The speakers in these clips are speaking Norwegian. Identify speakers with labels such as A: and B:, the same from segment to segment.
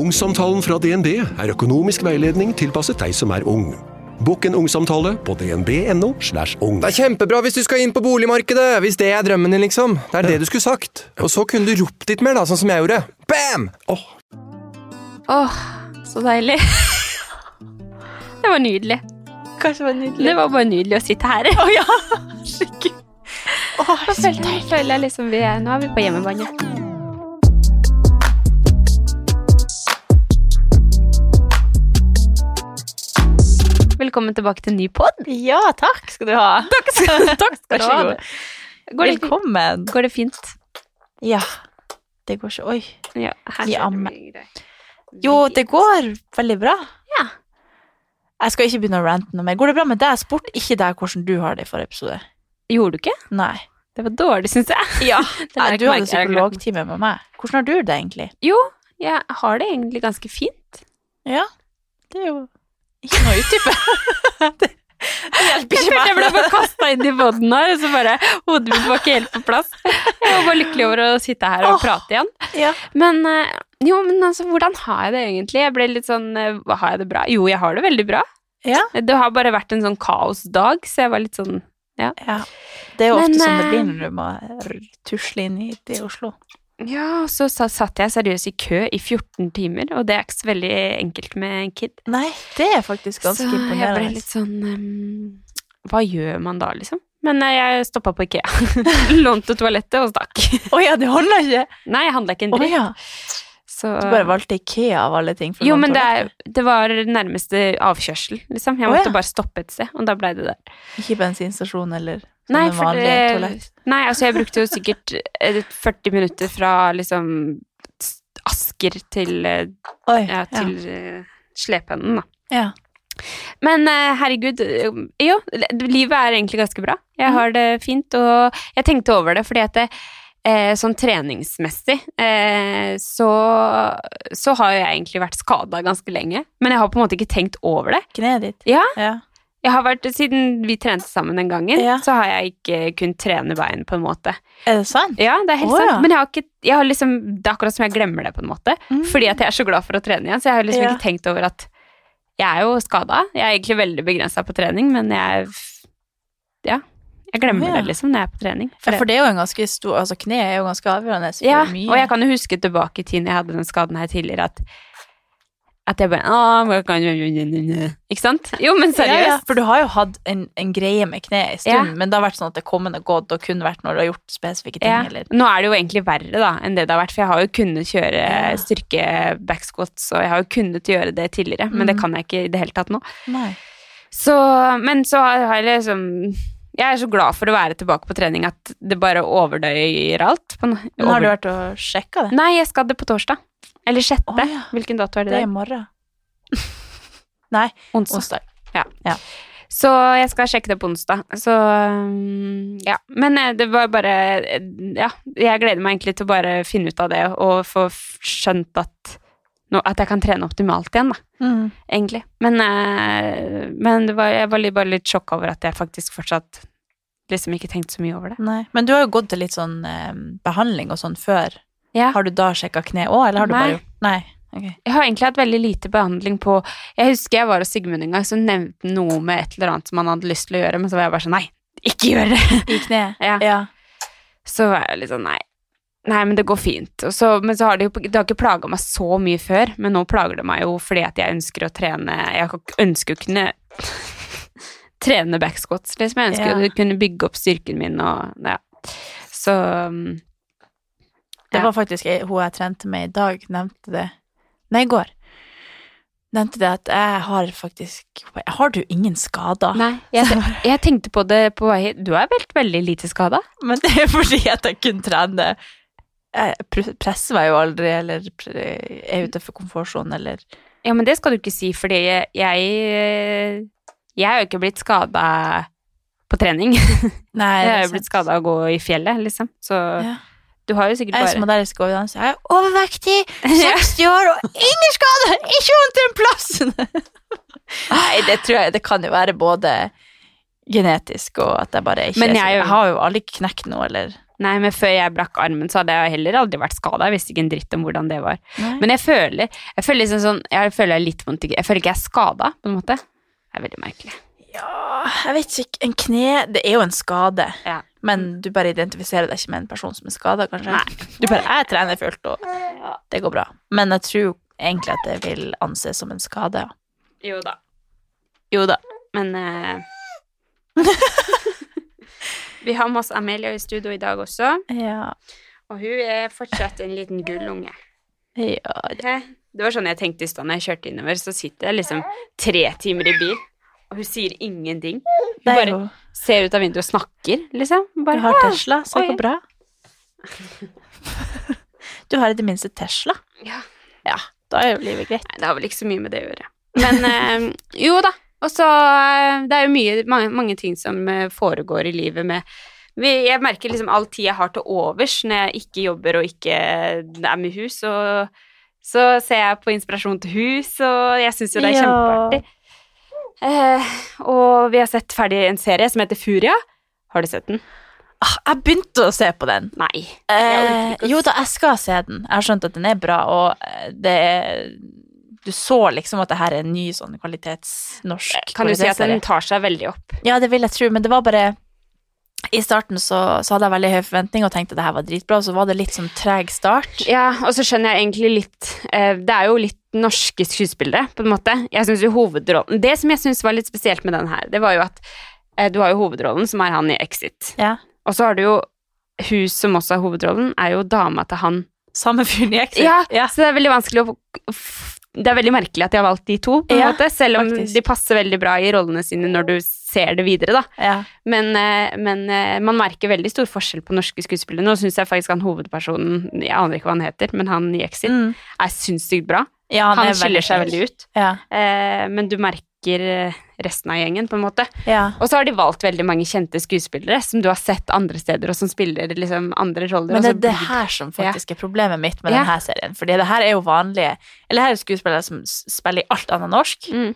A: Ungsamtalen fra DNB er økonomisk veiledning tilpasset deg som er ung. Bokk en ungsamtale på dnb.no. slash ung.
B: Det er kjempebra hvis du skal inn på boligmarkedet, hvis det er drømmen din, liksom. Det er det du skulle sagt. Og så kunne du ropt litt mer, da, sånn som jeg gjorde. Bam! Åh,
C: Åh, så deilig. Det var nydelig.
D: Kanskje det var nydelig.
C: Det var bare nydelig å sitte her.
D: Å ja! Herregud. Å,
C: Da følte, føler jeg liksom vi er, Nå er vi på hjemmebane. Velkommen tilbake til en ny pod.
D: Ja, takk skal du ha. Takk skal,
C: Vær så god. Går det,
D: Velkommen.
C: går det fint?
D: Ja. Det går så Oi.
C: Ja, her
D: Ja,
C: ser det
D: men-
C: mye greit.
D: Jo, det går veldig bra.
C: Ja.
D: Jeg skal ikke begynne å rante noe mer. Går det bra med deg? Jeg spurte ikke deg hvordan du har det i forrige episode.
C: Gjorde du ikke?
D: Nei.
C: Det var dårlig, syns jeg.
D: Ja,
C: Det
D: Nei,
C: lærte
D: du
C: meg
D: hadde
C: ikke, jeg lærte meg.
D: psykologtime med meg. Hvordan har du det egentlig?
C: Jo, jeg har det egentlig ganske fint.
D: Ja, det er jo ikke noe å utdype. det, det hjelper
C: Jeg
D: ikke
C: følte jeg
D: meg.
C: ble bare kasta inn i båten her, og så bare hodet mitt var ikke helt på plass. Jeg var bare lykkelig over å sitte her og
D: Åh.
C: prate igjen.
D: Ja.
C: Men eh, jo, men altså, hvordan har jeg det egentlig? Jeg ble litt sånn eh, hva Har jeg det bra? Jo, jeg har det veldig bra.
D: Ja.
C: Det har bare vært en sånn kaosdag, så jeg var litt sånn
D: ja. Det er jo ofte
C: Men,
D: sånn det
C: eh,
D: blir når du må r- tusle inn hit i Oslo.
C: Ja, og så sa- satt jeg seriøst i kø i 14 timer, og det er ikke så veldig enkelt med en kid.
D: Nei, det er faktisk ganske
C: så jeg ble
D: imponerende.
C: litt sånn ehm, Hva gjør man da, liksom? Men eh, jeg stoppa på Ikea. Lånte toalettet og stakk.
D: Å ja, det holder ikke!
C: Nei, jeg handla ikke en
D: Å
C: dritt.
D: ja.
C: Så,
D: Du bare valgte IKEA av alle ting. for
C: jo,
D: noen
C: men det, er,
D: toaletter.
C: det var nærmeste avkjørsel, liksom. Jeg
D: Å,
C: måtte
D: ja.
C: bare stoppe et sted, og da blei det der.
D: Ikke bensinstasjon eller
C: Nei,
D: sånne
C: for
D: vanlige
C: det-
D: Sånn toalett.
C: Nei, altså jeg brukte jo sikkert eh, 40 minutter fra liksom s- Asker til, eh,
D: Oi,
C: ja, til eh, Slependen, da.
D: ja.
C: Men eh, herregud, eh, jo, det- livet er egentlig ganske bra. Jeg har det fint, og jeg tenkte over det fordi at det, eh, sånn treningsmessig eh, så, så har jeg egentlig vært skada ganske lenge. Men jeg har på en måte ikke tenkt over det.
D: Kneet ditt.
C: Ja,
D: Ja.
C: jeg har vært, Siden vi trente sammen den gangen,
D: Ja.
C: så har jeg ikke kunnet trene bein, på en måte.
D: Er det sant?
C: Ja, det er helt
D: Å,
C: sant.
D: ja.
C: Men jeg har ikke, jeg har liksom, det er akkurat som jeg glemmer det, på en måte.
D: Mm.
C: Fordi at jeg er så glad for å trene igjen, så jeg har liksom
D: Ja.
C: ikke tenkt over at jeg er jo skada. Jeg er egentlig veldig begrensa på trening, men jeg f- Ja. Jeg
D: Å,
C: glemmer
D: ja.
C: det liksom når jeg er på trening.
D: Ja, for det er jo en ganske stor Altså, kneet er jo ganske avgjørende for
C: ja,
D: mye.
C: og jeg kan jo huske tilbake i tiden jeg hadde den skaden her tidligere, at at jeg bare «Åh, hva kan jeg-» Ikke sant? Jo, men seriøst.
D: Ja, ja. For du har jo hatt en, en greie med kneet en stund,
C: Ja.
D: men det har vært sånn at det kommer og gått, og kun vært når du har gjort spesifikke ting.
C: Ja.
D: Eller.
C: Nå er det jo egentlig verre da, enn det det har vært, for jeg har jo kunnet kjøre
D: Ja.
C: styrke backsquats, og jeg har jo kunnet gjøre det tidligere,
D: Mm.
C: men det kan jeg ikke i det hele tatt nå.
D: Nei.
C: Så, men så har jeg liksom Jeg er så glad for å være tilbake på trening at det bare overdøyer alt. På, no-
D: Men har du
C: over-
D: vært og sjekka det?
C: Nei, jeg skal det på torsdag. Eller sjette.
D: Å, ja.
C: Hvilken dato er det?
D: Det er
C: det?
D: i morgen. Nei,
C: Onsdag.
D: onsdag.
C: Så jeg skal sjekke det på onsdag. Så um, ja. Men eh, det var bare eh, Ja, jeg gleder meg egentlig til å bare finne ut av det og få f- skjønt at nå, At jeg kan trene optimalt igjen, da.
D: Mm.
C: Egentlig. Men, eh, men det var, jeg var litt, bare litt sjokk over at jeg faktisk fortsatt liksom ikke tenkte så mye over det.
D: Nei. Men du har jo gått til litt sånn eh, behandling og sånn før.
C: Ja.
D: Har du da sjekka kneet òg, eller har du
C: Nei.
D: bare gjort Nei. ok.
C: Jeg har egentlig hatt veldig lite behandling på Jeg husker jeg var hos Sigmund en gang, så nevnte han noe med et eller annet som han hadde lyst til å gjøre, men så var jeg bare sånn Nei, ikke gjør det!
D: I kneet?
C: Ja.
D: ja.
C: Så var jeg litt sånn Nei, nei men det går fint. Og så, men så har det jo Det har ikke plaga meg så mye før, men nå plager det meg jo fordi at jeg ønsker å trene Jeg ønsker å kunne trene backsquats, liksom. Jeg ønsker
D: Ja.
C: å kunne bygge opp styrken min og Ja. Så um,
D: Det
C: Ja.
D: var faktisk ei- hun jeg trente med i dag, nevnte det Nei, i går. Nevnte det at jeg har faktisk Har du ingen skader?
C: Nei, jeg, jeg tenkte på det på vei hit. Du er vel veldig lite skada?
D: Men det er fordi at jeg kun trener jeg pr- presser meg jo aldri, eller pr- er utenfor komfortsonen, eller
C: Ja, men det skal du ikke si, fordi jeg Jeg, jeg har jo ikke blitt skada på trening.
D: Nei, sånn.
C: Jeg har
D: det er
C: jo blitt
D: sant.
C: skada av å gå i fjellet, liksom. Så
D: Ja.
C: du har jo sikkert
D: Jeg er som
C: bare
D: moderne skoledanser. Jeg er overvektig, 60 år og ingen skader! Ikke vondt i en plass! Nei, det tror jeg Det kan jo være både genetisk og at jeg bare ikke
C: Men
D: er så-
C: jeg er jo-
D: jeg har jo aldri knekt noe, eller
C: Nei, men før jeg brakk armen, så hadde jeg heller aldri vært skada. Jeg visste ikke en dritt om hvordan det var.
D: Nei.
C: Men jeg føler jeg føler liksom sånn Jeg føler jeg er litt vondt i Jeg føler ikke jeg er skada, på en måte. Det er veldig merkelig.
D: Ja, jeg vet ikke. En kne Det er jo en skade.
C: Ja.
D: Men du bare identifiserer deg ikke med en person som er skada, kanskje?
C: Nei.
D: Du bare 'jeg trener fullt, og det går bra'. Men jeg tror egentlig at det vil anses som en skade. ja.
C: Jo da.
D: Jo da.
C: Men eh, Vi har med oss Amelia i studio i dag også,
D: Ja.
C: og hun er fortsatt en liten gullunge.
D: ja.
C: Hæ? Det var sånn jeg tenkte i stad når jeg kjørte innover. Så sitter jeg liksom tre timer i bil, og hun sier ingenting. Hun
D: Det er
C: bare
D: jo
C: ser ut av vinduet og snakker, liksom.
D: Du
C: Bare,
D: har
C: «Ah!»
D: Tesla, så
C: oi.
D: går bra. Du har i det minste Tesla.
C: Ja.
D: Ja, da er jo livet greit.
C: Nei, det har vel ikke så mye med det å gjøre. Men eh, jo da. Og så eh, Det er jo mye, mange, mange ting som eh, foregår i livet med vi- Jeg merker liksom all tid jeg har til overs når jeg ikke jobber og ikke eh, er med hus, og så ser jeg på inspirasjon til hus, og jeg syns jo det er
D: Ja.
C: kjempeartig. Eh, og vi har sett ferdig en serie som heter Furia. Har du sett den?
D: Ah, Jeg begynte å se på den.
C: Nei.
D: Eh, jo da, jeg skal se den. Jeg har skjønt at den er bra, og eh, det er Du så liksom at det her er en ny sånn kvalitetsnorsk
C: Eh, Kan du si at den
D: kvalitetsserie.
C: tar seg veldig opp?
D: Ja, det vil jeg tro, men det var bare I starten så, så hadde jeg veldig høy forventning og tenkte at det her var dritbra, og så var det litt sånn treg start.
C: Ja, og så skjønner jeg egentlig litt eh, Det er jo litt norske skuespillere, på en måte. Jeg synes jo hovedrollen Det som jeg syns var litt spesielt med den her, det var jo at eh, du har jo hovedrollen, som er han i Exit.
D: Ja.
C: Og så har du jo hun som også er hovedrollen, er jo dama til han.
D: Samme fyren i Exit.
C: Ja, Så det er veldig vanskelig å f- Det er veldig merkelig at de har valgt de to, på en
D: Ja,
C: måte, selv om
D: faktisk.
C: de passer veldig bra i rollene sine når du ser det videre, da.
D: ja.
C: Men, eh, men eh, man merker veldig stor forskjell på norske skuespillere. Nå syns jeg faktisk han hovedpersonen, jeg aner ikke hva han heter, men han i Exit,
D: Mm.
C: er sinnssykt bra.
D: Ja,
C: Han,
D: er
C: skiller seg veldig ut.
D: Ja.
C: Eh, men du merker eh, resten av gjengen, på en måte.
D: ja.
C: Og så har de valgt veldig mange kjente skuespillere som du har sett andre steder, og som spiller liksom andre roller.
D: Men
C: og
D: det
C: så
D: er det
C: blir-
D: her som faktisk er problemet mitt med
C: Ja.
D: denne serien. Fordi det her er jo vanlige Eller her er skuespillere som s- spiller i alt annet norsk.
C: Mm.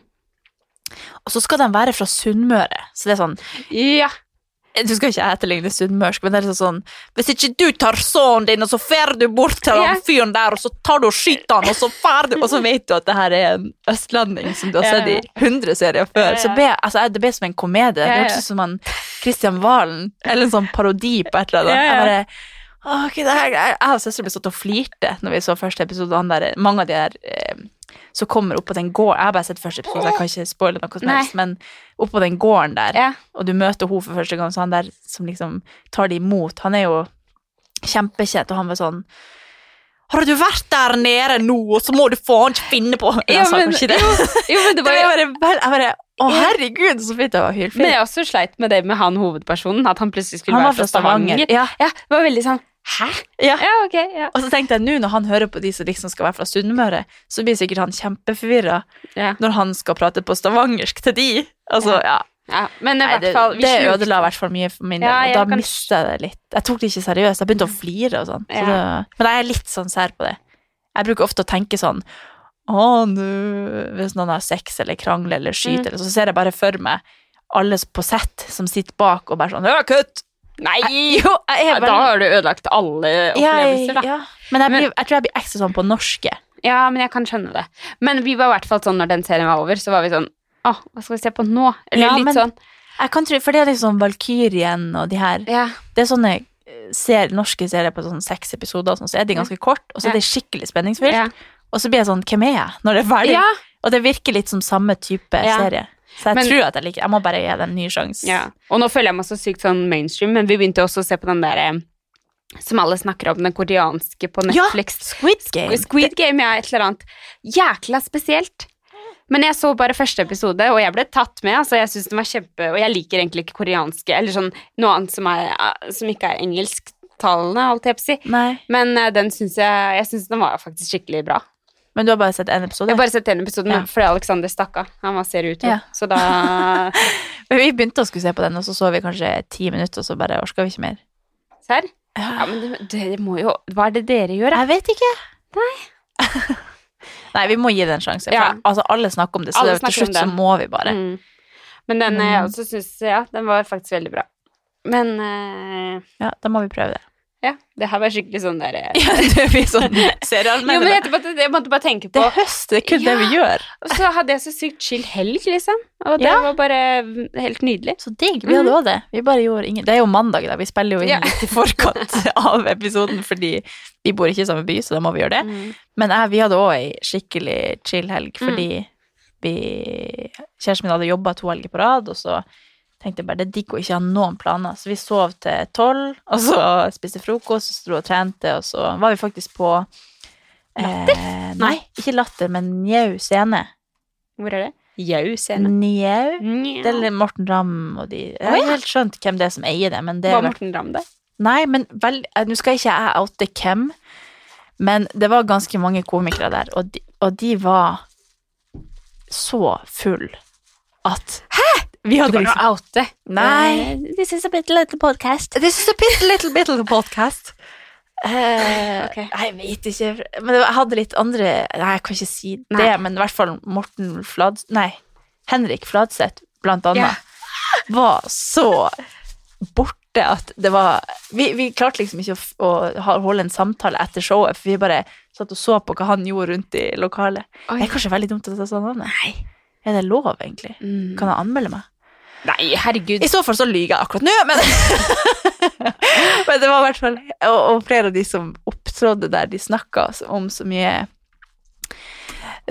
D: Og så skal de være fra Sunnmøre. Så det er sånn
C: Ja.
D: Du skal ikke etterligne sunnmørsk, men det er sånn Hvis ikke du tar sønnen din, og så fer du bort til
C: Ja.
D: han fyren der, og så tar du og skyter han, og så fer du Og så vet du at det her er en østlending som du har
C: Ja,
D: sett
C: ja.
D: i 100 serier
C: Ja,
D: før.
C: ja.
D: Så ble, altså, det ble som en komedie. Det
C: Ja, ja.
D: hørtes ut som han Christian Valen, eller en sånn parodi på et eller annet.
C: Ja,
D: Jeg
C: ja.
D: bare «Å, ok, det her, jeg, jeg og søsteren ble satt og flirte når vi så første episode. og Han der, mange av de der eh, som kommer opp på den gården Jeg har bare sett første episode, så jeg kan ikke spoile noe som
C: Nei.
D: helst. Men opp på den gården der,
C: Ja.
D: og du møter henne for første gang, så han der som liksom tar det imot, han er jo kjempekjent, og han var sånn Har du vært der nede nå, og så må du faen ikke finne på Nei,
C: Ja,
D: han sa
C: men-
D: kanskje det.
C: Jo, men det
D: Det var
C: var,
D: jeg bare, jeg bare Å, herregud, så fint det var
C: men
D: hylfint.
C: jeg også sleit med det med han hovedpersonen, at han plutselig skulle
D: Han var
C: være
D: fra Stavanger. Ja.
C: Ja, det var veldig sånn Hæ?
D: Ja.
C: Ja, ok, ja.
D: Og så tenkte jeg nå når han hører på de som liksom skal være fra Sunnmøre, så blir sikkert han kjempeforvirra
C: ja.
D: når han skal prate på stavangersk til de. Altså, ja.
C: ja. Men i
D: Nei,
C: hvert
D: det,
C: fall vi
D: det
C: sluker-
D: ødela i hvert fall mye for min del,
C: Ja, jeg
D: og da
C: kan-
D: mista jeg det litt. Jeg tok det ikke seriøst. Jeg begynte å flire og sånn. Så
C: Ja.
D: det- Men jeg er litt sånn sær på det. Jeg bruker ofte å tenke sånn Å, nå Hvis noen har sex eller krangler eller skyter,
C: Mm.
D: eller så ser jeg bare for meg alle på sett som sitter bak og bare sånn «Ja, Kutt!
C: Nei!
D: Jo, jeg
C: Ja,
D: er
C: da
D: veldig
C: har du ødelagt alle
D: jeg,
C: opplevelser, da.
D: ja. Men jeg,
C: Men-
D: blir, jeg tror jeg blir ekstra sånn på norske.
C: Ja, men jeg kan skjønne det. Men vi var i hvert fall sånn når den serien var over, så var vi sånn Åh, hva skal vi se på nå? Eller
D: Ja,
C: litt
D: men-
C: sånn
D: Jeg kan tro, for det er liksom Valkyrien og de her
C: Ja.
D: Det er sånne eh, ser, norske serier på sånn seks episoder, og sånn, så er de ganske kort, og så er det skikkelig spenningsfylt.
C: Mm. Ja.
D: Og så blir jeg sånn, hvem er jeg? Når det er ferdig.
C: ja.
D: Og det virker litt som samme type
C: Ja.
D: serie. Så jeg
C: Men-
D: tror at jeg liker Jeg må bare gi det en ny sjanse.
C: ja. Og nå føler jeg meg så sykt sånn mainstream, men vi begynte også å se på den der eh, som alle snakker om, den koreanske på
D: Ja,
C: Netflix.
D: Squid Game.
C: Squid Game er et eller annet jækla spesielt. Men jeg så bare første episode, og jeg ble tatt med. altså Jeg synes den var kjempe, Og jeg liker egentlig eh, ikke koreanske eller sånn noe annet som, er, som ikke er engelsk. tallene, holdt jeg på å si.
D: Nei.
C: Men eh, den syns jeg Jeg syns den var faktisk skikkelig bra.
D: Men du har bare sett én episode?
C: Jeg har bare sett denne episoden
D: Ja.
C: fordi Alexander stakk av. Han var ser ut,
D: Ja.
C: så da
D: Men vi begynte å skulle se på den, og så så vi kanskje ti minutter, og så bare orka vi ikke mer.
C: Serr? Ja, men det- dere må jo Hva er det dere gjør, da?
D: Jeg vet ikke. Nei. Nei, vi må gi det en sjanse. For
C: Ja.
D: altså, alle snakker om det, så
C: Alle
D: til
C: snakker om
D: slutt så
C: det.
D: må vi bare.
C: Mm. Men den eh, jeg
D: Mm.
C: også synes, Ja, den var faktisk veldig bra. Men eh,
D: Ja, da må vi prøve det.
C: Ja, det her var skikkelig sånn der eh,
D: Ja, det blir sånn
C: Jo, men
D: serieanmelder.
C: etterpå, at jeg måtte bare tenke
D: Det
C: på
D: er høst, det er kun det vi gjør.
C: Og så hadde jeg så sykt chill helg, liksom. Og det
D: Ja.
C: var bare mm, helt nydelig.
D: Så digg. Vi hadde òg det. Vi bare gjorde ingen Det er jo mandag, da. Vi spiller jo inn
C: Ja.
D: litt i forkant av episoden, fordi vi bor ikke i samme by, så da må vi gjøre det. Men jeg, vi hadde òg ei skikkelig chill helg, fordi vi Kjæresten min hadde jobba to helger på rad, og så tenkte jeg bare det er digg å ikke ha noen planer. Så vi sov til tolv, og så spiste frokost, så dro og trente, og så var vi faktisk på Latter? Eh, nei, ikke latter, men Njau scene.
C: Hvor er det? Jau scene.
D: Njau. Mm. Det er
C: Nja.
D: litt Morten Ramm og de Jeg har
C: Å, ja.
D: ikke helt skjønt hvem det er som eier det. Men det
C: Var
D: er,
C: Morten Ramm der?
D: nei, men vel, eh, nå skal ikke jeg oute hvem, men det var ganske mange komikere der, og de, og de var så full at Hæ?! Vi hadde liksom
C: Oute. Eh,
D: Nei. This is a bit little podcast. This is a bit little bit little podcast. Eh,
C: Ok.
D: Jeg vet ikke Men det var- jeg hadde litt andre Nei, jeg kan ikke si det,
C: Nei.
D: men i hvert fall Morten Flads... Nei, Henrik Fladseth, blant annet,
C: Ja.
D: var så borte at det var Vi, vi klarte liksom ikke å, f- å ha- holde en samtale etter showet, for vi bare satt og så på hva han gjorde rundt i lokalet.
C: Oi.
D: Det er kanskje veldig dumt å ta sånn navnet. Er det lov, egentlig?
C: Mm.
D: Kan jeg anmelde meg?
C: Nei, herregud.
D: I så fall så lyver jeg akkurat nå, men Men det var i hvert fall og, og flere av de som opptrådde der, de snakka om så mye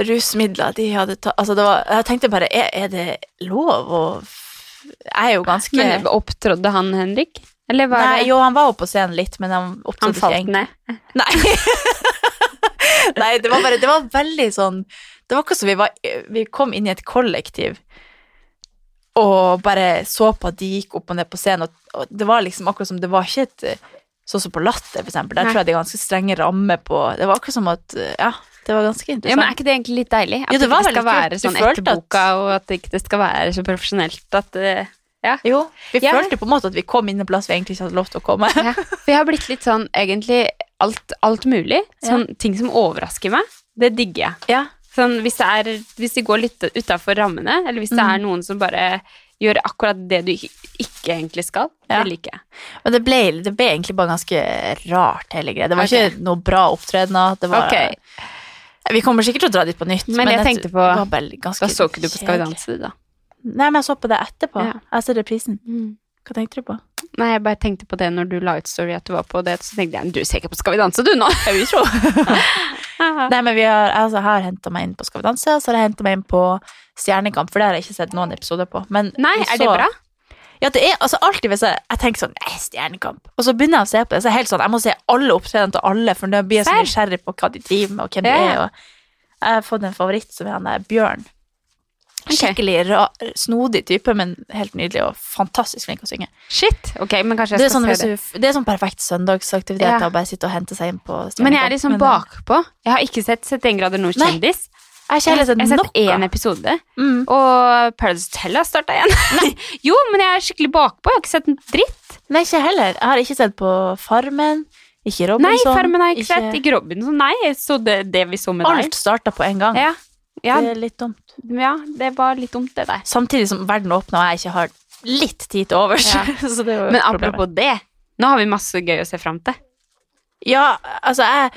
D: rusmidler de hadde tatt Altså, det var Jeg tenkte bare, er, er det lov å f- Jeg er jo ganske
C: Men opptrådde han Henrik? Eller var
D: Nei,
C: det
D: jo, han var oppe på scenen litt, men han
C: Han
D: opptrådte ikke
C: falt
D: egentlig.
C: ned.
D: Nei. Nei, det var bare Det var veldig sånn Det var akkurat som vi var Vi kom inn i et kollektiv og bare så på at de gikk opp og ned på scenen, og, og det var liksom akkurat som Det var ikke et eh, Sånn som på Latter, for eksempel. Der
C: Nei.
D: tror jeg det er ganske strenge rammer på Det var akkurat som at eh, Ja, det var ganske
C: Ja, men Er
D: interessant.
C: ikke det egentlig litt deilig? At
D: Jo, det
C: ikke
D: var
C: det
D: veldig
C: skal
D: kult.
C: være
D: Du
C: sånn
D: følte
C: etter
D: at-
C: boka, og at det ikke det skal være så profesjonelt at eh, Ja.
D: jo, vi
C: Ja.
D: følte på en måte at vi kom inn en plass vi egentlig ikke hadde lov til å komme.
C: Ja, for jeg har blitt litt sånn egentlig alt, alt mulig. Sånn ting som overrasker meg, det digger jeg.
D: Ja.
C: Sånn, hvis, det er, hvis det går litt utafor rammene, eller hvis det er
D: Mm.
C: noen som bare gjør akkurat det du ikke, ikke egentlig skal,
D: Ja.
C: det liker jeg.
D: Men det ble, det ble egentlig bare ganske rart, hele greia. Det var
C: Ok.
D: ikke noe bra opptredener. Det var
C: Ok.
D: Vi kommer sikkert til å dra dit på nytt.
C: Men jeg tenkte på-
D: det var bare ganske
C: Da så ikke du på Skal vi
D: kjedelig.
C: danse, du, da?
D: Nei, men jeg så på det etterpå.
C: Ja. Mm.
D: Jeg så reprisen. Hva tenkte du på?
C: Nei, jeg bare tenkte på det når du la ut story at du var på det, så tenkte jeg du ser ikke på Skal vi danse, du, nå? Jeg vil tro.
D: Nei, men vi har, altså, jeg har henta meg inn på Skal vi danse, og så har jeg henta meg inn på Stjernekamp, for det har jeg ikke sett noen episoder på. Men
C: Nei,
D: vi
C: er det
D: så-
C: bra?
D: Ja, det er altså alltid hvis jeg, jeg tenker sånn Nei, Stjernekamp. Og så begynner jeg å se på det, så er jeg helt sånn Jeg må se alle opptredenene til alle, for da blir jeg så nysgjerrig på hva de driver med, og hvem de
C: Ja.
D: er, og jeg har fått en favoritt som er han der Bjørn.
C: Ok.
D: Skikkelig ra, snodig type, men helt nydelig og fantastisk flink å synge.
C: Shit. Ok, men kanskje
D: Det
C: jeg
D: er, sånn,
C: skal
D: hvis
C: se det.
D: du, det er sånn perfekt søndagsaktivitet
C: Ja.
D: å bare sitte og hente seg inn på Stjernekamp.
C: Men jeg er liksom
D: eh,
C: bakpå. Jeg har ikke sett 71 grader nord
D: Nei.
C: kjendis.
D: Jeg har ikke
C: Jeg,
D: heller
C: jeg har sett
D: sett noe.
C: én episode,
D: Mm.
C: og Paradise Hotel har starta igjen. jo, men jeg er skikkelig bakpå. Jeg har ikke sett en dritt.
D: Nei, ikke jeg heller. Jeg har ikke sett på Farmen, ikke
C: Nei,
D: Robinson.
C: Farmen har jeg ikke sett. Ikke Robinson. Nei, jeg så det, det vi så med
D: sånn, Alt starta på en gang.
C: deg. Ja. Ja,
D: Det er litt dumt.
C: ja, det var litt dumt, det der.
D: Samtidig som verden åpner, og jeg ikke har litt tid til overs.
C: Ja.
D: Så det er jo
C: Men
D: problemet.
C: apropos det, nå har vi masse gøy å se fram til.
D: Ja, altså, jeg,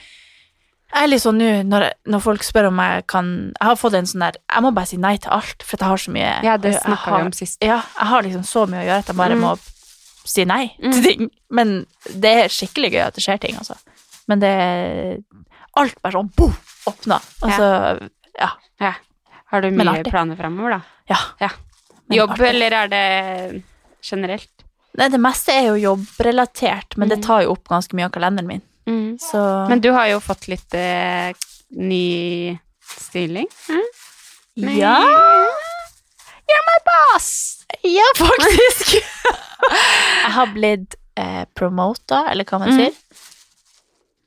D: jeg er litt sånn nå når, når folk spør om jeg kan Jeg har fått en sånn der Jeg må bare si nei til alt, for jeg har så mye
C: Ja, det
D: jeg
C: snakket vi
D: har-
C: om sist. Mm.
D: Ja, jeg har liksom så mye å gjøre at jeg bare må si nei til ting. Men det er skikkelig gøy at det skjer ting, altså. Men det er Alt bare sånn boom, åpna. Altså, ja.
C: Ja. Har du
D: Men
C: mye
D: artig.
C: planer framover, da?
D: ja.
C: Ja.
D: Men
C: Jobb,
D: artig.
C: eller er det generelt?
D: Nei, det meste er jo jobbrelatert, men det tar jo opp ganske mye av kalenderen min. Så
C: Mm. Men du har jo fått litt eh, ny stilling. Mm?
D: Ja! You're my boss! Ja, faktisk. jeg har blitt eh, promota, eller hva man
C: Mm.
D: sier.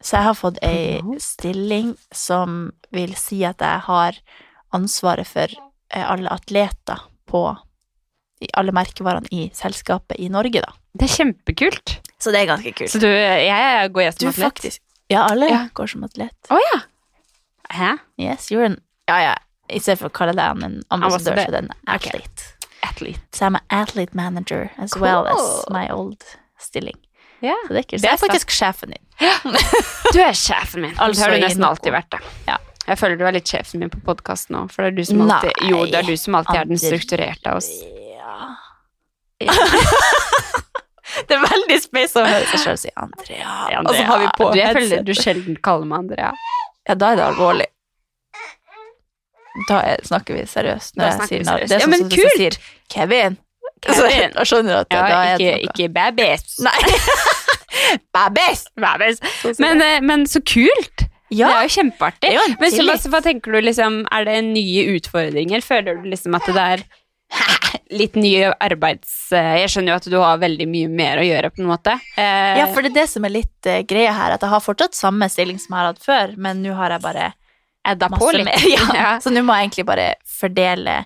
D: Så jeg har fått ei stilling som vil si at jeg har ansvaret for eh, alle atleter på i alle merkevarene i selskapet i Norge, da.
C: Det er kjempekult.
D: Så det er ganske kult.
C: Så du, jeg går jeg
D: Du
C: som atlet?
D: faktisk Ja, alle
C: Ja.
D: går som atlet.
C: Å ja. Hæ?
D: Yes, you're an Ja, ja. I stedet for å kalle deg en ambassadør,
C: Ambassadør.
D: så er det en
C: Ok.
D: athlete.
C: Atlet.
D: Så I'm an athlete manager as well as
C: Cool.
D: my old stilling.
C: Ja.
D: Så det er kult.
C: Det
D: Så
C: er
D: jeg er faktisk sjefen din.
C: Du er sjefen min.
D: Altså
C: det har du
D: i
C: nesten
D: noe.
C: alltid vært. det.
D: Ja.
C: Jeg føler du er litt sjefen min på podkasten nå. For det er du som alltid,
D: Nei.
C: jo, det er, du som alltid er den
D: Andre-
C: strukturerte av oss.
D: Ja. det er veldig space å høre seg selv si Andrea. Og så har vi på
C: du, jeg føler
D: headset.
C: du sjelden kaller meg Andrea.
D: Ja, da er det alvorlig. Da er, snakker vi seriøst.
C: Da
D: Når jeg
C: snakker vi
D: sier navn.
C: seriøst.
D: Det er
C: Ja,
D: sånn
C: men
D: som hvis jeg
C: kult!
D: sier Kevin.
C: Kevin.
D: Så- Da skjønner du at det, da
C: Ja,
D: er
C: ikke,
D: det noe.
C: ikke babes.
D: Nei. Babes!
C: Babes.
D: Sånn som
C: Men,
D: det.
C: eh, men så kult! Det
D: ja,
C: er jo kjempeartig.
D: Det er jo en
C: Men så, hva,
D: tillit.
C: hva tenker du, liksom, er det nye utfordringer? Føler du liksom at det er litt nye arbeids... eh, Jeg skjønner jo at du har veldig mye mer å gjøre, på en måte. Eh,
D: ja, for det er det som er litt eh, greia her, at jeg har fortsatt samme stilling som jeg har hatt før, men nå har jeg bare
C: edda på
D: masse
C: litt.
D: mer. Ja. Så nå må jeg egentlig bare fordele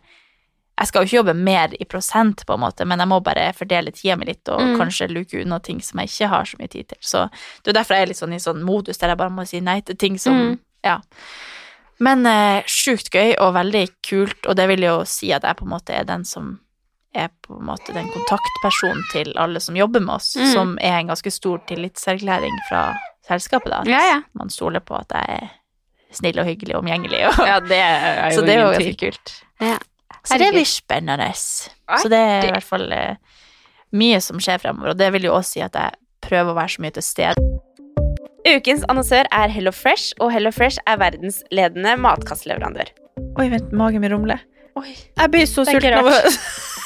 D: Jeg skal jo ikke jobbe mer i prosent, på en måte, men jeg må bare fordele tida mi litt og
C: Mm.
D: kanskje luke unna ting som jeg ikke har så mye tid til. Så det er derfor jeg er litt sånn i sånn modus der jeg bare må si nei til ting som
C: Mm.
D: Ja. Men eh, sjukt gøy og veldig kult, og det vil jo si at jeg på en måte er den som er på en måte den kontaktpersonen til alle som jobber med oss,
C: Mm.
D: som er en ganske stor tillitserklæring fra selskapet, da. At
C: Ja, ja.
D: man stoler på at jeg er snill og hyggelig og omgjengelig. Og,
C: Ja, det er jo
D: så det er jo
C: ingen
D: ganske
C: tvil.
D: kult.
C: Ja.
D: Så det blir
C: Herregud.
D: spennende. Så det er i hvert fall eh, mye som skjer fremover, og det vil jo også si at jeg prøver å være så mye til stede.
C: Ukens annonsør er Hello Fresh, og Hello Fresh er verdensledende matkastleverandør.
D: Oi, vent, magen min rumler.
C: Oi.
D: Jeg blir så
C: Det er ikke
D: sulten av å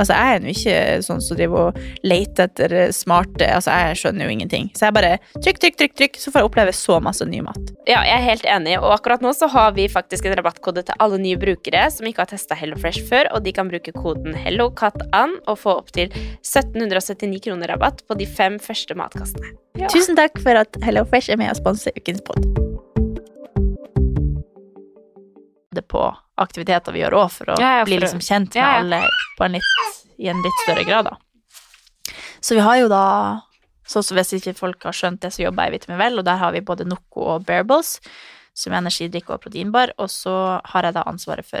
D: Altså, jeg er jo ikke sånn som driver og leter etter smarte Altså, jeg skjønner jo ingenting. Så jeg bare trykk, trykk, trykk, trykk, så får jeg oppleve så masse ny mat.
C: Ja, jeg er helt enig, og akkurat nå så har vi faktisk en rabattkode til alle nye brukere som ikke har testa HelloFresh før, og de kan bruke koden HelloCatAn og få opptil 1779 kroner rabatt på de fem første matkastene. Ja.
D: Tusen takk for at Hello Fresh er med og sponser ukens pod. Det på aktiviteter vi gjør òg, for å
C: Ja, ja,
D: bli
C: for å-
D: liksom kjent med
C: Ja, ja.
D: alle på en litt, i en litt større grad, da. Så vi har jo da Sånn som hvis ikke folk har skjønt det, så jobber jeg i Vitamin Vel, og der har vi både Noco og Bearables, som er energidrikk og proteinbar, og så har jeg da ansvaret for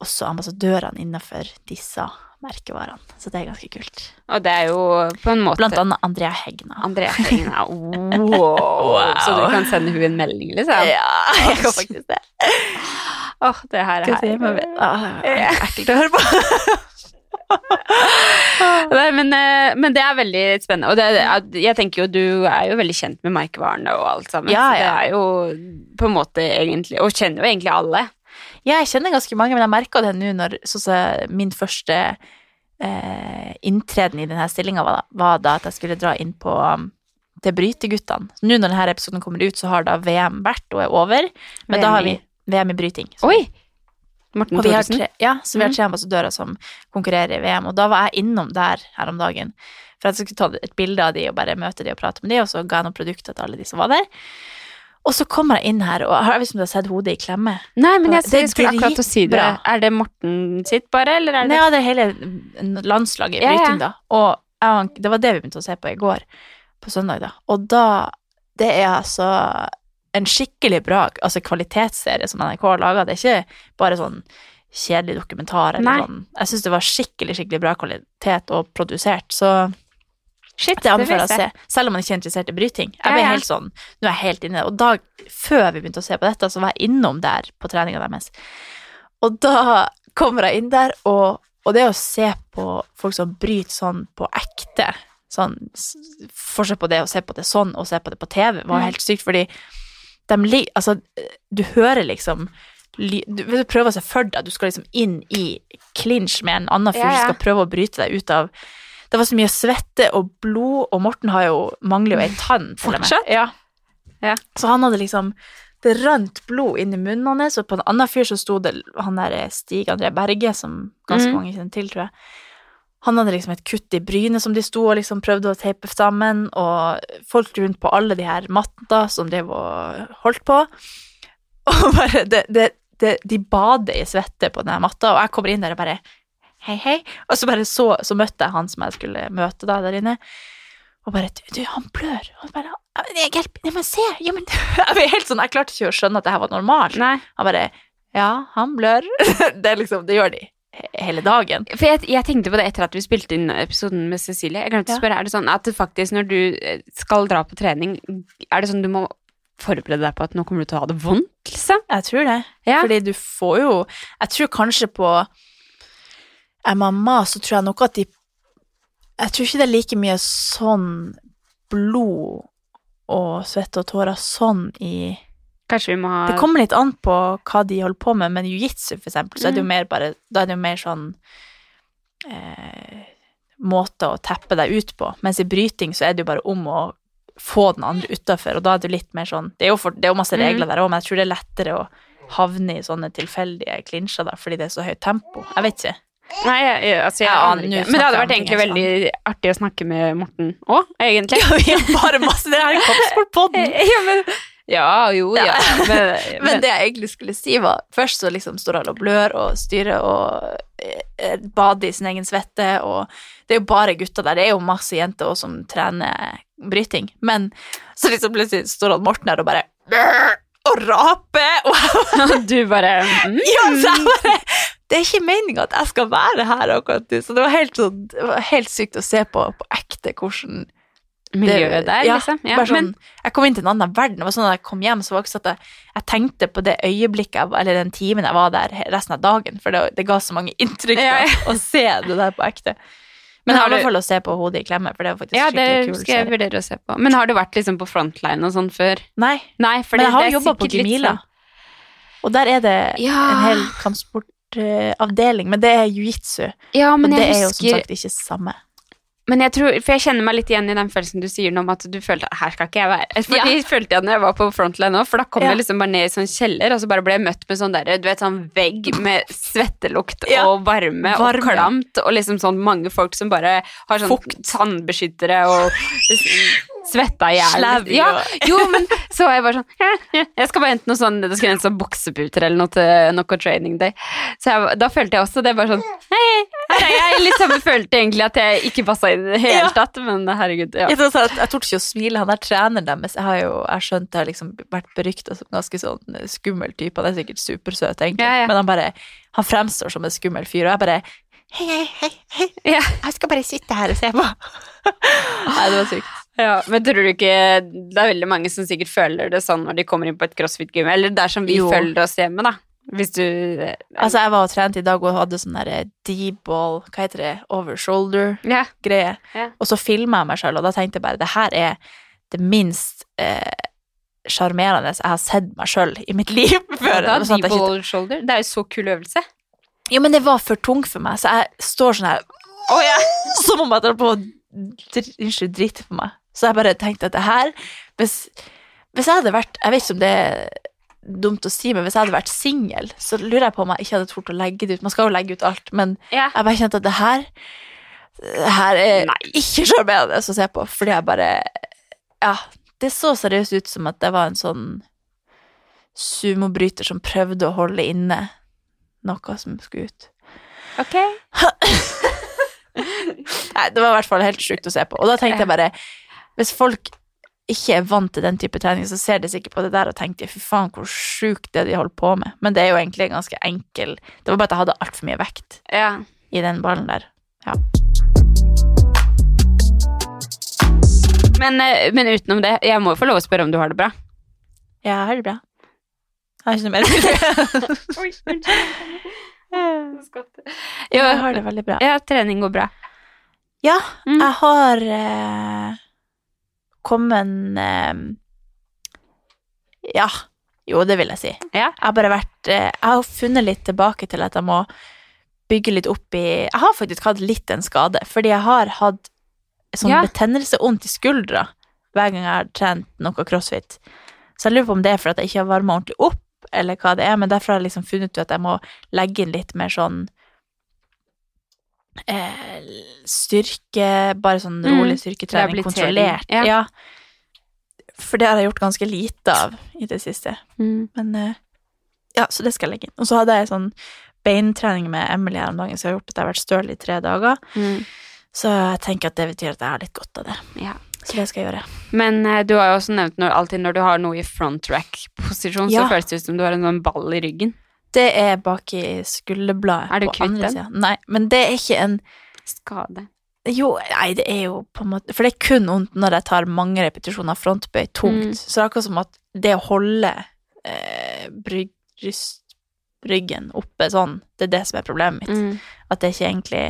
D: også ambassadørene innenfor disse merkevarene. Så det er ganske kult.
C: Og det er jo på en måte
D: Blant annet Andrea Hegna.
C: Andrea Tegna. Wow. Så du kan sende hun en melding, liksom?
D: Ja, jeg kan faktisk det.
C: Åh, det her er
D: Ah, Ekkelt å høre på.
C: Nei, men, eh, men det er veldig spennende. Og det, er- jeg tenker jo, du er jo veldig kjent med merkevarene og alt sammen.
D: Ja,
C: Så
D: ja.
C: det er jo på en måte egentlig Og kjenner jo egentlig alle.
D: Ja, jeg kjenner ganske mange, men jeg merka det nå når sånn som min første eh, inntreden i denne stillinga var, da- var da at jeg skulle dra inn på um, til bryteguttene. Nå når denne episoden kommer ut, så har da VM vært og er over. Men da har vi VM i bryting. Så-
C: Oi! Morten
D: Og vi har
C: Thoresen.
D: tre, ja, så vi har
C: Mhm.
D: tre ambassadører som konkurrerer i VM. Og da var jeg innom der her om dagen for at jeg skulle ta et bilde av de og bare møte de og prate med de, og så ga jeg noen produkter til alle de som var der. Og så kommer jeg inn her, og jeg vet ikke om du har liksom sett hodet i klemme.
C: Nei, men jeg,
D: Det er
C: jeg skulle akkurat å si det.
D: dritbra.
C: Er det Morten sitt, bare? Eller er
D: Nei,
C: det
D: ja, det er hele landslaget i
C: Ja, ja.
D: bryting, da. Og jeg og han- det var det vi begynte å se på i går, på søndag, da. Og da Det er altså en skikkelig bra altså kvalitetsserie som NRK har laga. Det er ikke bare sånn kjedelig dokumentar eller
C: Nei.
D: sånn. Jeg syns det var skikkelig, skikkelig bra kvalitet og produsert, så
C: Shit,
D: det anbefaler
C: vil
D: jeg å se.
C: jeg
D: Selv om man ikke er interessert i bryting. Jeg
C: Ja,
D: ble
C: ja.
D: helt sånn, nå er jeg helt inne i det. Og da, før vi begynte å se på dette, så var jeg innom der på treninga deres. Og da kommer jeg inn der, og, og det å se på folk som bryter sånn på ekte sånn, s- Forskjell på det å se på det sånn og se på det på TV var
C: Mm.
D: helt sykt, fordi de li- Altså, du hører liksom ly- du, du prøver å se for deg, du skal liksom inn i clinch med en annen fyr
C: Ja, ja.
D: som skal prøve å bryte deg ut av Det var så mye svette og blod, og Morten har jo, mangler jo ei tann. til og med.
C: Fortsatt?
D: Ja.
C: Ja.
D: Så han hadde liksom Det rant blod inn i munnen hans, og på en annen fyr så sto det han der eh, Stig André Berge, som ganske
C: Mhm.
D: mange kjenner til, tror jeg. Han hadde liksom et kutt i brynet som de sto og liksom prøvde å teipe sammen, og folk rundt på alle de her matta som drev og holdt på. Og bare det, det, det, De bader i svette på den her matta, og jeg kommer inn der og bare Hei, hei. Og så bare så, så møtte jeg han som jeg skulle møte da der inne, og bare Du, du han blør. Og bare jeg, hjelp, nei, men se, ja, men, jeg, ble helt sånn, jeg klarte ikke å skjønne at det her var normalt.
C: se. Nei.
D: Han bare Ja, han blør. det, er liksom, det gjør de he- hele dagen.
C: For jeg, jeg tenkte på det etter at vi spilte inn episoden med Cecilie. Jeg glemte
D: Ja.
C: å spørre, er det sånn at det faktisk når du eh, skal dra på trening, er det sånn du må forberede deg på at nå kommer du til å ha det vondt, liksom?
D: Jeg tror det.
C: Ja.
D: Fordi du får jo Jeg tror kanskje på MMA så tror jeg nok at de Jeg tror ikke det er like mye sånn blod og svette og tårer sånn i
C: Kanskje vi må ha
D: Det kommer litt an på hva de holder på med, men jiu-jitsu for eksempel, så er det jo mer bare, da er det jo mer sånn eh, måte å teppe deg ut på. Mens i bryting så er det jo bare om å få den andre utafor, og da er det jo litt mer sånn Det er jo, for, det er jo masse regler der òg, men jeg tror det er lettere å havne i sånne tilfeldige klinsjer da, fordi det er så høyt tempo. Jeg vet ikke.
C: Nei, jeg, jeg, altså, jeg,
D: Ja,
C: aner
D: nå
C: ikke.
D: snakker
C: Men det hadde
D: jeg om
C: vært
D: ting
C: egentlig
D: jeg ikke
C: veldig artig å snakke med Morten òg, egentlig.
D: Vi har bare masse Det her er kampsportpodden!
C: Ja, men, ja, jo, ja. Men,
D: Men det jeg egentlig skulle si var Først så liksom står alle og blør og styrer og eh, eh, bader i sin egen svette og Det er jo bare gutter der, det er jo masse jenter også som trener bryting Men så liksom plutselig står han Morten her og bare "Brr!" Og raper og
C: men du bare mm.
D: ja, så jeg bare Det er ikke meninga at jeg skal være her akkurat nå, så det var helt, sånn, det var helt sykt å se på på ekte hvordan
C: Miljøet der,
D: ja,
C: liksom. Ja,
D: bare sånn,
C: men,
D: Jeg kom inn til en annen verden. Det var sånn at jeg kom hjem, så var det ikke sånn at jeg, jeg tenkte på det øyeblikket, jeg, var- eller den timen jeg var der he- resten av dagen, for det, det ga så mange inntrykk
C: Ja, ja.
D: da, å se det der på ekte.
C: Men
D: Men jeg
C: har du-
D: anbefaler å se på Hodet i klemme, for det er faktisk
C: ja, det
D: skikkelig kul
C: skal jeg
D: serie.
C: vurdere å se på. Men har du vært liksom på frontline og sånn før?
D: Nei,
C: Nei, for
D: men jeg har
C: det er
D: jobba på
C: sikkert litt
D: Gemila,
C: sånn-
D: og der er det
C: Ja.
D: en hel kampsportavdeling, men det er jiu-jitsu.
C: Ja, men
D: og det
C: jeg
D: er jo som
C: husker
D: sagt ikke samme.
C: Men jeg tror, For jeg kjenner meg litt igjen i den følelsen du sier nå om at du følte her skal ikke jeg være. For
D: Ja.
C: det følte jeg når jeg var på frontline òg, for da kom
D: Ja.
C: jeg liksom bare ned i sånn kjeller, og så bare ble jeg møtt med sånn derre, du vet sånn vegg med svettelukt
D: Ja.
C: og varme,
D: Varme.
C: og klamt, og liksom sånn mange folk som bare har sånn
D: Fukt.
C: tannbeskyttere og liksom svetta i hjel.
D: Slabby
C: Ja,
D: og-
C: jo, men så var jeg bare sånn «Ja, ja, Jeg skal bare hente noe sånn, det skal hente sånn bokseputer eller noe til noe training day. Så jeg, da følte jeg også det bare sånn Hei, her er jeg. Litt samme følte egentlig at jeg ikke passa inn i det hele
D: Ja.
C: tatt, men herregud. Ja.
D: Jeg, tror også at- jeg torde ikke å smile. Han der treneren deres, jeg har jo jeg har skjønt det har liksom vært berykta som ganske sånn skummel type. Han er sikkert supersøt, egentlig,
C: Ja, ja.
D: men han bare han fremstår som en skummel fyr, og jeg bare Hei, hei, hei, hei.
C: Ja.
D: Jeg skal bare sitte her og se på. Nei, det var sykt.
C: Ja, men tror du ikke Det er veldig mange som sikkert føler det sånn når de kommer inn på et crossfit-gym, eller der som vi
D: Jo.
C: føler oss hjemme, da. Hvis du
D: Altså, jeg var og trente i dag og hadde sånn derre D-ball, hva heter det, over shoulder.
C: ja.
D: greie.
C: Ja.
D: Og så filma jeg meg sjøl, og da tenkte jeg bare det her er det minst eh, sjarmerende jeg har sett meg sjøl i mitt liv før.
C: Da,
D: Sånn at jeg
C: deep
D: ikke-
C: wall shoulder. Det er jo så kul øvelse.
D: Jo, men det var for tungt for meg, så jeg står sånn her Som om jeg holder på å dr- Unnskyld, drite på meg. Så jeg bare tenkte at det her Hvis, hvis jeg hadde vært Jeg vet ikke om det er dumt å si, men hvis jeg hadde vært singel, så lurer jeg på om jeg ikke hadde tort å legge det ut. Man skal jo legge ut alt, men
C: Ja.
D: jeg bare kjente at det her Det her er ikke sjarmerende å se på, fordi jeg bare Ja, det så seriøst ut som at det var en sånn sumobryter som prøvde å holde inne noe som skulle ut.
C: Ok.
D: Nei, det var i hvert fall helt sjukt å se på. Og da tenkte jeg bare Hvis folk ikke er vant til den type trening, så ser de sikkert på det der og tenker fy faen, hvor sjukt det de holder på med. Men det er jo egentlig ganske enkel Det var bare at jeg hadde altfor mye vekt
C: Ja.
D: i den ballen der.
C: Men, eh, men utenom det, jeg må jo få lov å spørre om du har det bra.
D: Ja, har det bra. Jeg har ikke noe mer å si.
C: Oi, Jo,
D: Jeg har det veldig bra.
C: Ja, trening går bra.
D: Ja,
C: Mm.
D: jeg har eh, kommet eh, Ja, jo, det vil jeg si.
C: Ja.
D: Jeg har bare vært eh, Jeg har funnet litt tilbake til at jeg må bygge litt opp i Jeg har faktisk hatt litt en skade, fordi jeg har hatt sånn
C: Ja.
D: betennelse vondt i skuldra hver gang jeg har trent noe crossfit. Så jeg lurer på om det er fordi jeg ikke har varma ordentlig opp, eller hva det er, men derfor har jeg liksom funnet ut at jeg må legge inn litt mer sånn eh, styrke, bare sånn
C: Mm.
D: rolig styrketrening,
C: Rehabilitering,
D: kontrollert.
C: ja.
D: Ja. For det har jeg gjort ganske lite av i det siste. Men eh, ja, så det skal jeg legge inn. Og så hadde jeg sånn beintrening med Emily her om dagen, så jeg har gjort at jeg har vært støl i tre dager.
C: Mm.
D: Så jeg tenker at det betyr at jeg har litt godt av det.
C: Ja.
D: Så det skal jeg gjøre.
C: Men eh, du har jo også nevnt når, alltid når du har noe i front rack-posisjon,
D: Ja.
C: så føles det ut som du har en sånn ball i ryggen.
D: Det er bak i skulderbladet.
C: Er du
D: på
C: kvitt
D: andre
C: den?
D: siden. Nei, men det er ikke en
C: Skade.
D: Jo, nei, det er jo på en måte For det er kun vondt når jeg tar mange repetisjoner frontbøy tungt.
C: Mm.
D: Så det er akkurat som at det å holde eh, bryg, bryst, ryggen oppe sånn, det er det som er problemet
C: Mm.
D: mitt. At det er ikke egentlig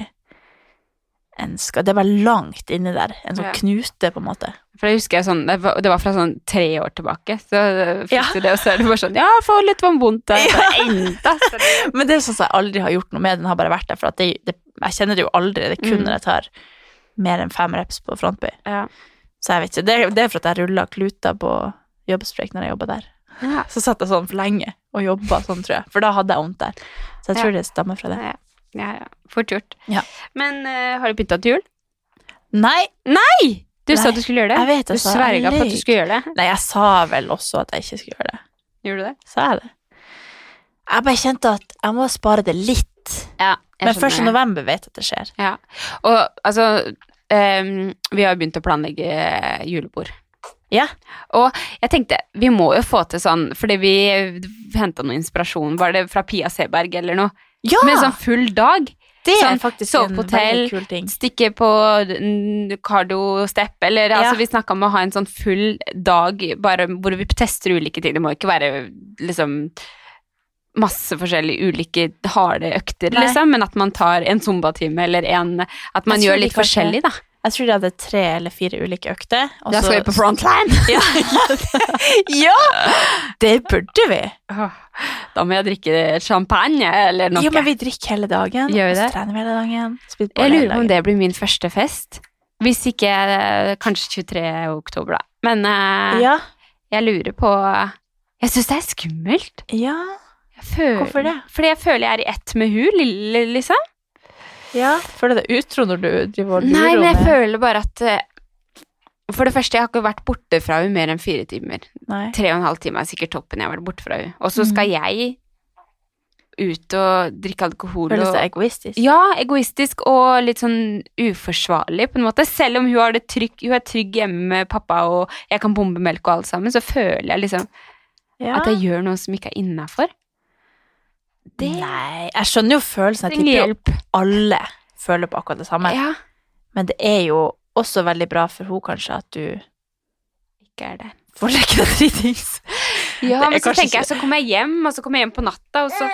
D: en skal, Det er bare langt inni der. En sånn
C: Ja.
D: knute, på en måte.
C: For jeg husker jeg sånn, det var, det var fra sånn tre år tilbake, så eh, fikk
D: Ja.
C: du det, og så er det bare sånn, ja, få litt vann vondt der. Ja. Enda. Så det,
D: Men det er sånn som jeg aldri har gjort noe med. Den har bare vært der. For at det, det, jeg kjenner det jo aldri. Det er kun
C: Mm.
D: når jeg tar mer enn fem reps på frontbøy.
C: ja.
D: Så jeg vet ikke. Det, er- det er for at jeg rulla kluter på jobbsprek når jeg jobba der.
C: Ja.
D: Så satt jeg sånn for lenge og jobba sånn, tror jeg. For da hadde jeg vondt der. Så jeg
C: Ja.
D: tror det stammer fra det.
C: Ja, ja, ja. Fort gjort.
D: Ja.
C: Men eh, har du pynta til jul?
D: Nei,
C: Du
D: Nei,
C: sa du skulle gjøre det.
D: jeg vet
C: Du
D: jeg sa
C: sverga på at du
D: lyg.
C: skulle gjøre det.
D: Nei, jeg sa vel også at jeg ikke skulle gjøre det.
C: Gjorde du det?
D: Sa jeg det? Jeg bare kjente at jeg må spare det litt.
C: Ja, jeg
D: Men
C: skjønner
D: 1.
C: det.
D: november vet jeg at det skjer.
C: Ja. Og altså ehm, Vi har jo begynt å planlegge eh, julebord.
D: Ja.
C: Og jeg tenkte vi må jo få til sånn, fordi vi henta noe inspirasjon, var det fra Pia Seberg eller noe?
D: Ja!
C: Med sånn full dag.
D: det
C: sånn,
D: er faktisk
C: sove
D: en
C: på hotell,
D: veldig kul ting.
C: Stikke på mm, cardio step, eller
D: Ja.
C: altså vi snakka om å ha en sånn full dag bare hvor vi tester ulike ting. Det må ikke være liksom masse forskjellige ulike harde økter,
D: Nei.
C: liksom, men at man tar en zumbatime eller en At man
D: Jeg tror
C: gjør litt
D: de kanskje-
C: forskjellig, da.
D: Jeg tror de hadde tre eller fire ulike økter. og
C: Da
D: så-
C: skal vi på frontline!
D: Ja. ja! Det burde vi.
C: Da må jeg drikke champagne eller noe.
D: Ja, men vi drikker hele dagen.
C: Gjør vi
D: og så
C: det?
D: trener vi hele dagen. Spiller ball
C: Jeg
D: hele
C: lurer på om
D: dagen.
C: det blir min første fest. Hvis ikke eh, kanskje 23. oktober, da. Men eh,
D: Ja,
C: jeg lurer på Jeg syns det er skummelt.
D: ja,
C: Jeg føler,
D: Hvorfor det?
C: Fordi jeg føler jeg er i ett med hun, lille, liksom.
D: ja. Føler du deg utro når du driver og lurer
C: Nei, men jeg
D: med-
C: føler bare at eh, For det første, jeg har ikke vært borte fra hun mer enn fire timer.
D: Nei.
C: Tre og en halv time er sikkert toppen jeg har vært borte fra hun. Og så skal jeg ut og drikke alkohol
D: Føles
C: og
D: det egoistisk?
C: Ja, egoistisk og litt sånn uforsvarlig på en måte. Selv om hun, har det trygg, hun er trygg hjemme med pappa, og jeg kan bombe melk og alt sammen, så føler jeg liksom
D: Ja.
C: at jeg gjør noe som ikke er innafor. Det
D: Nei, jeg skjønner jo følelsen. Jeg
C: trenger
D: tipper jo
C: hjelp.
D: alle føler på akkurat det samme.
C: Ja,
D: Men det er jo også veldig bra for hun kanskje at du
C: ikke er det.
D: får drikke deg dritings.
C: Ja,
D: Det er
C: men så
D: kanskje
C: tenker jeg,
D: ikke-
C: så kommer jeg hjem, og så kommer jeg hjem på natta, og så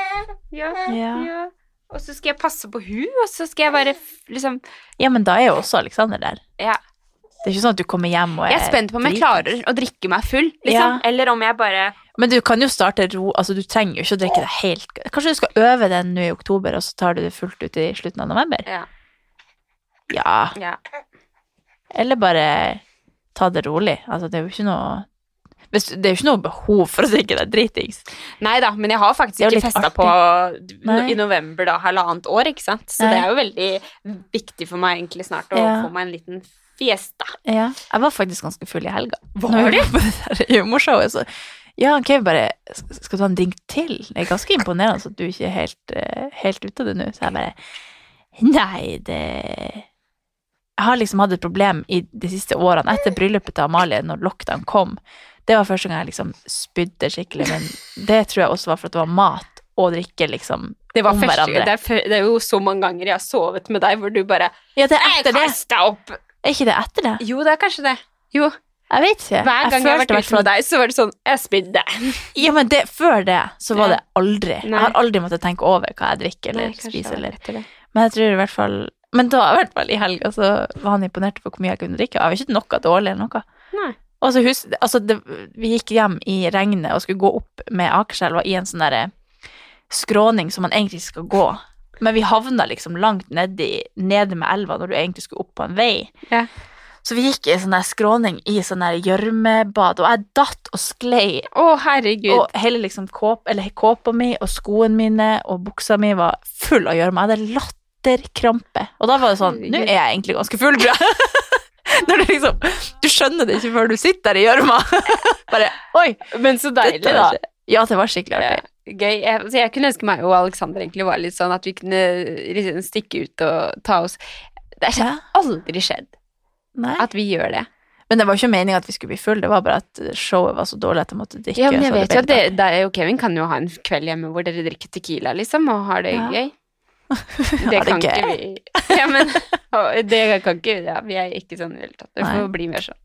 C: ja,
D: Ja.
C: ja. Og så skal jeg passe på hun, og så skal jeg være f- liksom
D: Ja, men da er jo også Alexander der.
C: Ja.
D: Det er ikke sånn at du kommer hjem og
C: Jeg er spent på om jeg
D: dritings.
C: klarer å drikke meg full, liksom.
D: Ja.
C: Eller om jeg bare
D: Men du kan jo starte ro, altså du trenger jo ikke å drikke det helt Kanskje du skal øve den nå i oktober, og så tar du det fullt ut i slutten av november?
C: Ja.
D: Ja.
C: ja.
D: Eller bare ta det rolig. Altså, det er jo ikke noe hvis, Det er jo ikke noe behov for å drikke deg dritings.
C: Nei da, men jeg har faktisk
D: Det er jo
C: ikke
D: litt
C: festa
D: artig.
C: på
D: Nei.
C: i november da, halvannet år, ikke sant. Så
D: Nei.
C: det er jo veldig viktig for meg egentlig snart å
D: Ja.
C: få meg en liten fiesta.
D: Ja. Jeg var faktisk ganske full i helga.
C: Var
D: Når vi var på det der humorshowet, så ja, han Kevin bare "Sk- Skal du ha en drink til? Det er ganske imponerende at du ikke er helt, eh, helt ute av det nå. Så jeg bare Nei, det Jeg har liksom hatt et problem i de siste årene etter bryllupet til Amalie, når lockdown kom. Det var første gang jeg liksom spydde skikkelig, men det tror jeg også var for at det var mat og drikke liksom
C: Det var
D: om
C: første,
D: hverandre.
C: det, er, fø- det er jo så mange ganger jeg har sovet med deg hvor du bare
D: Ja, det er
C: Jeg
D: etter det.
C: kasta opp!
D: Er ikke det etter det?
C: Jo, det er kanskje det. Jo,
D: Jeg vet ikke.
C: hver gang jeg, har
D: følte
C: vært
D: i hvert
C: ute
D: fall
C: med deg, så var det sånn Jeg spydde.
D: Ja, men det, før det så var
C: Ja.
D: det aldri.
C: Nei.
D: Jeg har aldri måttet tenke over hva jeg drikker eller
C: Nei, kanskje det
D: spiser.
C: var
D: Eller.
C: etter det.
D: Men jeg tror i hvert fall Men da i hvert fall i helga så var han imponert over hvor mye jeg kunne drikke. Jeg var ikke noe dårlig eller noe.
C: Nei.
D: Og så hus- altså det, Vi gikk hjem i regnet og skulle gå opp med Akerselva i en sånn derre skråning som man egentlig skal gå. Men vi havna liksom langt nedi, nede med elva når du egentlig skulle opp på en vei.
C: Ja.
D: Så vi gikk i sånn der skråning i sånn der gjørmebad, og jeg datt og sklei
C: Å, herregud.
D: og hele liksom kåp, eller kåpa mi og skoene mine og buksa mi var full av gjørme. Jeg hadde latterkrampe. Og da var det sånn Nå er jeg egentlig ganske full, tror jeg. Når du liksom Du skjønner det ikke før du sitter der i gjørma. Bare Oi!
C: men så deilig,
D: dette
C: da. Eh,
D: var- Ja, det var skikkelig artig.
C: Gøy. Jeg, altså, jeg kunne ønske meg og Alexander egentlig var litt sånn at vi kunne liksom stikke ut og ta oss Det har
D: Ja.
C: aldri skjedd
D: Nei.
C: at vi gjør det.
D: Men det var ikke meninga at vi skulle bli full, det var bare at showet var så dårlig at jeg måtte drikke.
C: Ja, men
D: så det
C: jeg vet
D: ble
C: jo at
D: litt artig.
C: det- deg og Kevin kan jo ha en kveld hjemme hvor dere drikker tequila, liksom, og har det
D: Ja.
C: gøy.
D: Ja,
C: Det
D: det er
C: kan ikke
D: gøy.
C: vi Ja, men og det kan ikke ja, Vi er ikke sånn i det hele tatt. Det
D: Nei.
C: får bli mer sånn.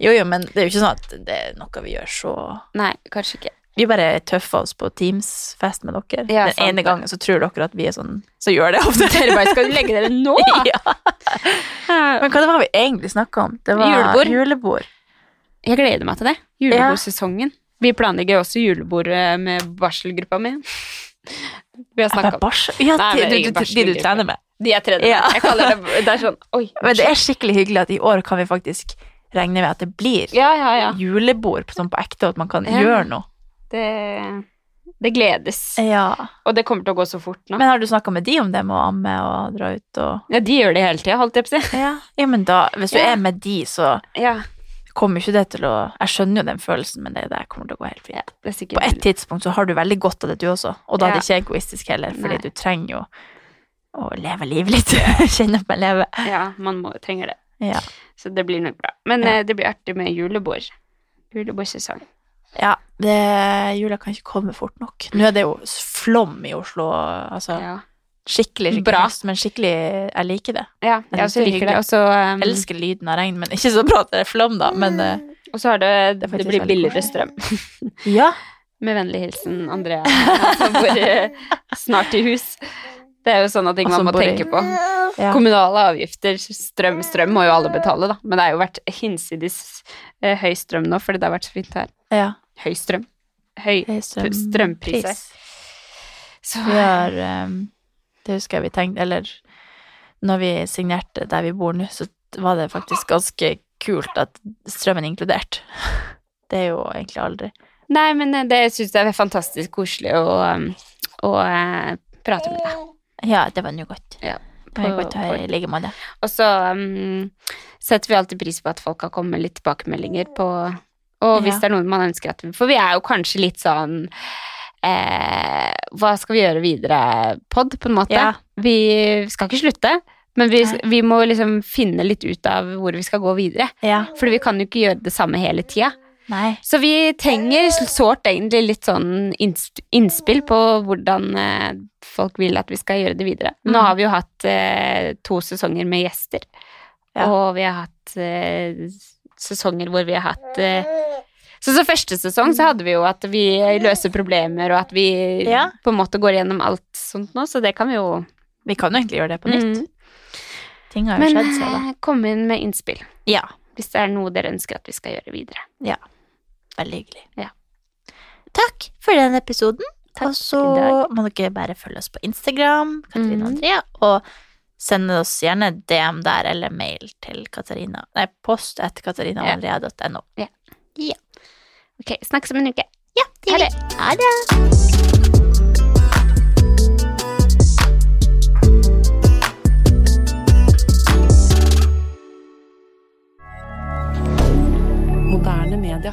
D: Jo, jo, men det er jo ikke sånn at det er noe vi gjør så
C: Nei, kanskje ikke.
D: vi bare tøffer oss på Teams-fest med dere.
C: Ja,
D: Den
C: sant
D: ene
C: det.
D: gangen så tror dere at vi er sånn, så gjør det ofte.
C: Dere bare skal legge dere nå!
D: ja. Men hva det var vi egentlig snakket om? Det var
C: Julebord.
D: julebord.
C: Jeg gleder meg til det. Julebordsesongen. Vi planlegger også julebord eh, med barselgruppa mi. Vi har snakka
D: Bare
C: om
D: barsel. Ja,
C: Nei,
D: de,
C: men
D: du,
C: ingen
D: du, de du
C: barselgruppe.
D: trener med.
C: De er tredje.
D: Ja.
C: Jeg kaller det Det er sånn Oi.
D: Men det er skikkelig hyggelig at i år kan vi faktisk regne med at det blir
C: Ja, ja, ja.
D: julebord på, sånn på ekte, og at man kan
C: Ja.
D: gjøre noe.
C: Det, det gledes.
D: Eh.
C: Og det kommer til å gå så fort nå.
D: Men har du snakket med de om det med å amme og dra ut og...
C: Ja, de gjør det hele tida, holdt jeg på å si.
D: Ja, men da, hvis du
C: Ja.
D: er med de, så
C: Ja,
D: kommer ikke det til å... Jeg skjønner jo den følelsen, men det der kommer til å gå helt fint.
C: det er sikkert
D: på et tidspunkt så har du veldig godt av det, du også. Og da er det ikke egoistisk heller, fordi
C: Nei.
D: du trenger jo å leve livet litt. Kjenne på å leve.
C: Ja, man må, trenger det.
D: Ja.
C: Så det blir nok bra. Men
D: Ja.
C: eh, det blir artig med julebord. Julebordsesong.
D: ja det, jula kan ikke komme fort nok. Nå er det jo flom i Oslo. Altså,
C: Ja.
D: Skikkelig, skikkelig
C: Bra.
D: høst, men skikkelig Jeg liker det.
C: ja, jeg
D: synes det er
C: også eh, liker det.
D: hyggelig.
C: Og så
D: Jeg elsker lyden av regn, men ikke så bra at det er flom, da. Men eh,
C: og så har det
D: Det er
C: Det,
D: faktisk
C: blir
D: veldig
C: billigere
D: koselig.
C: strøm.
D: ja.
C: Med vennlig hilsen Andrea, som bor eh, snart i hus. Det er jo sånne ting
D: Og som
C: man må
D: bor i-
C: tenke på.
D: ja.
C: Kommunale avgifter, strøm, strøm må jo alle betale, da. Men det har jo vært hinsides eh, høy strøm nå, fordi det har vært så fint her.
D: ja.
C: Høy strøm. Høy
D: det er strøm-
C: strømpriser.
D: pris.
C: Så
D: Vi har ehm, Det husker jeg vi tenkte Eller når vi signerte der vi bor nå, så var det faktisk ganske kult at strømmen er inkludert. Det er jo egentlig aldri.
C: Nei, men eh, det syns jeg er fantastisk koselig å, um, å eh, prate med deg.
D: Ja, det var nå godt.
C: Ja.
D: Det var godt å høre i like måte.
C: Og så um, setter vi alltid pris på at folk har kommet med litt tilbakemeldinger på Og hvis
D: Ja.
C: det er noen man ønsker at For vi er jo kanskje litt sånn eh, Hva skal vi gjøre videre-pod, på en måte.
D: Ja.
C: Vi skal ikke slutte, men vi,
D: Nei.
C: vi må liksom finne litt ut av hvor vi skal gå videre.
D: Ja.
C: Fordi vi kan jo ikke gjøre det samme hele tida.
D: Nei.
C: Så vi trenger sårt egentlig litt sånn inns- innspill på hvordan eh, folk vil at vi skal gjøre det videre.
D: Mm.
C: Nå har vi jo hatt eh, to sesonger med gjester,
D: Ja.
C: og vi har hatt eh, sesonger hvor vi har hatt eh, så så første sesong så hadde vi jo at vi løser problemer, og at vi
D: Ja.
C: på en måte går gjennom alt sånt nå, så det kan vi jo
D: Vi kan jo egentlig gjøre det på nytt.
C: Mm.
D: Ting har jo
C: Men
D: skjedd seg, da.
C: eh, kom inn med innspill
D: Ja.
C: hvis det er noe dere ønsker at vi skal gjøre videre.
D: Veldig hyggelig.
C: Ja.
D: Takk for den episoden.
C: Takk
D: og så
C: i dag.
D: må dere bare følge oss på Instagram, Katrine
C: Mhm.
D: og Andrea, og send oss gjerne DM der, eller mail til Katarina. Nei, post etter katarinamaria.no.
C: Ok, snakkes om en uke.
D: Ja, det gjør vi. Ha det.
E: Moderne media.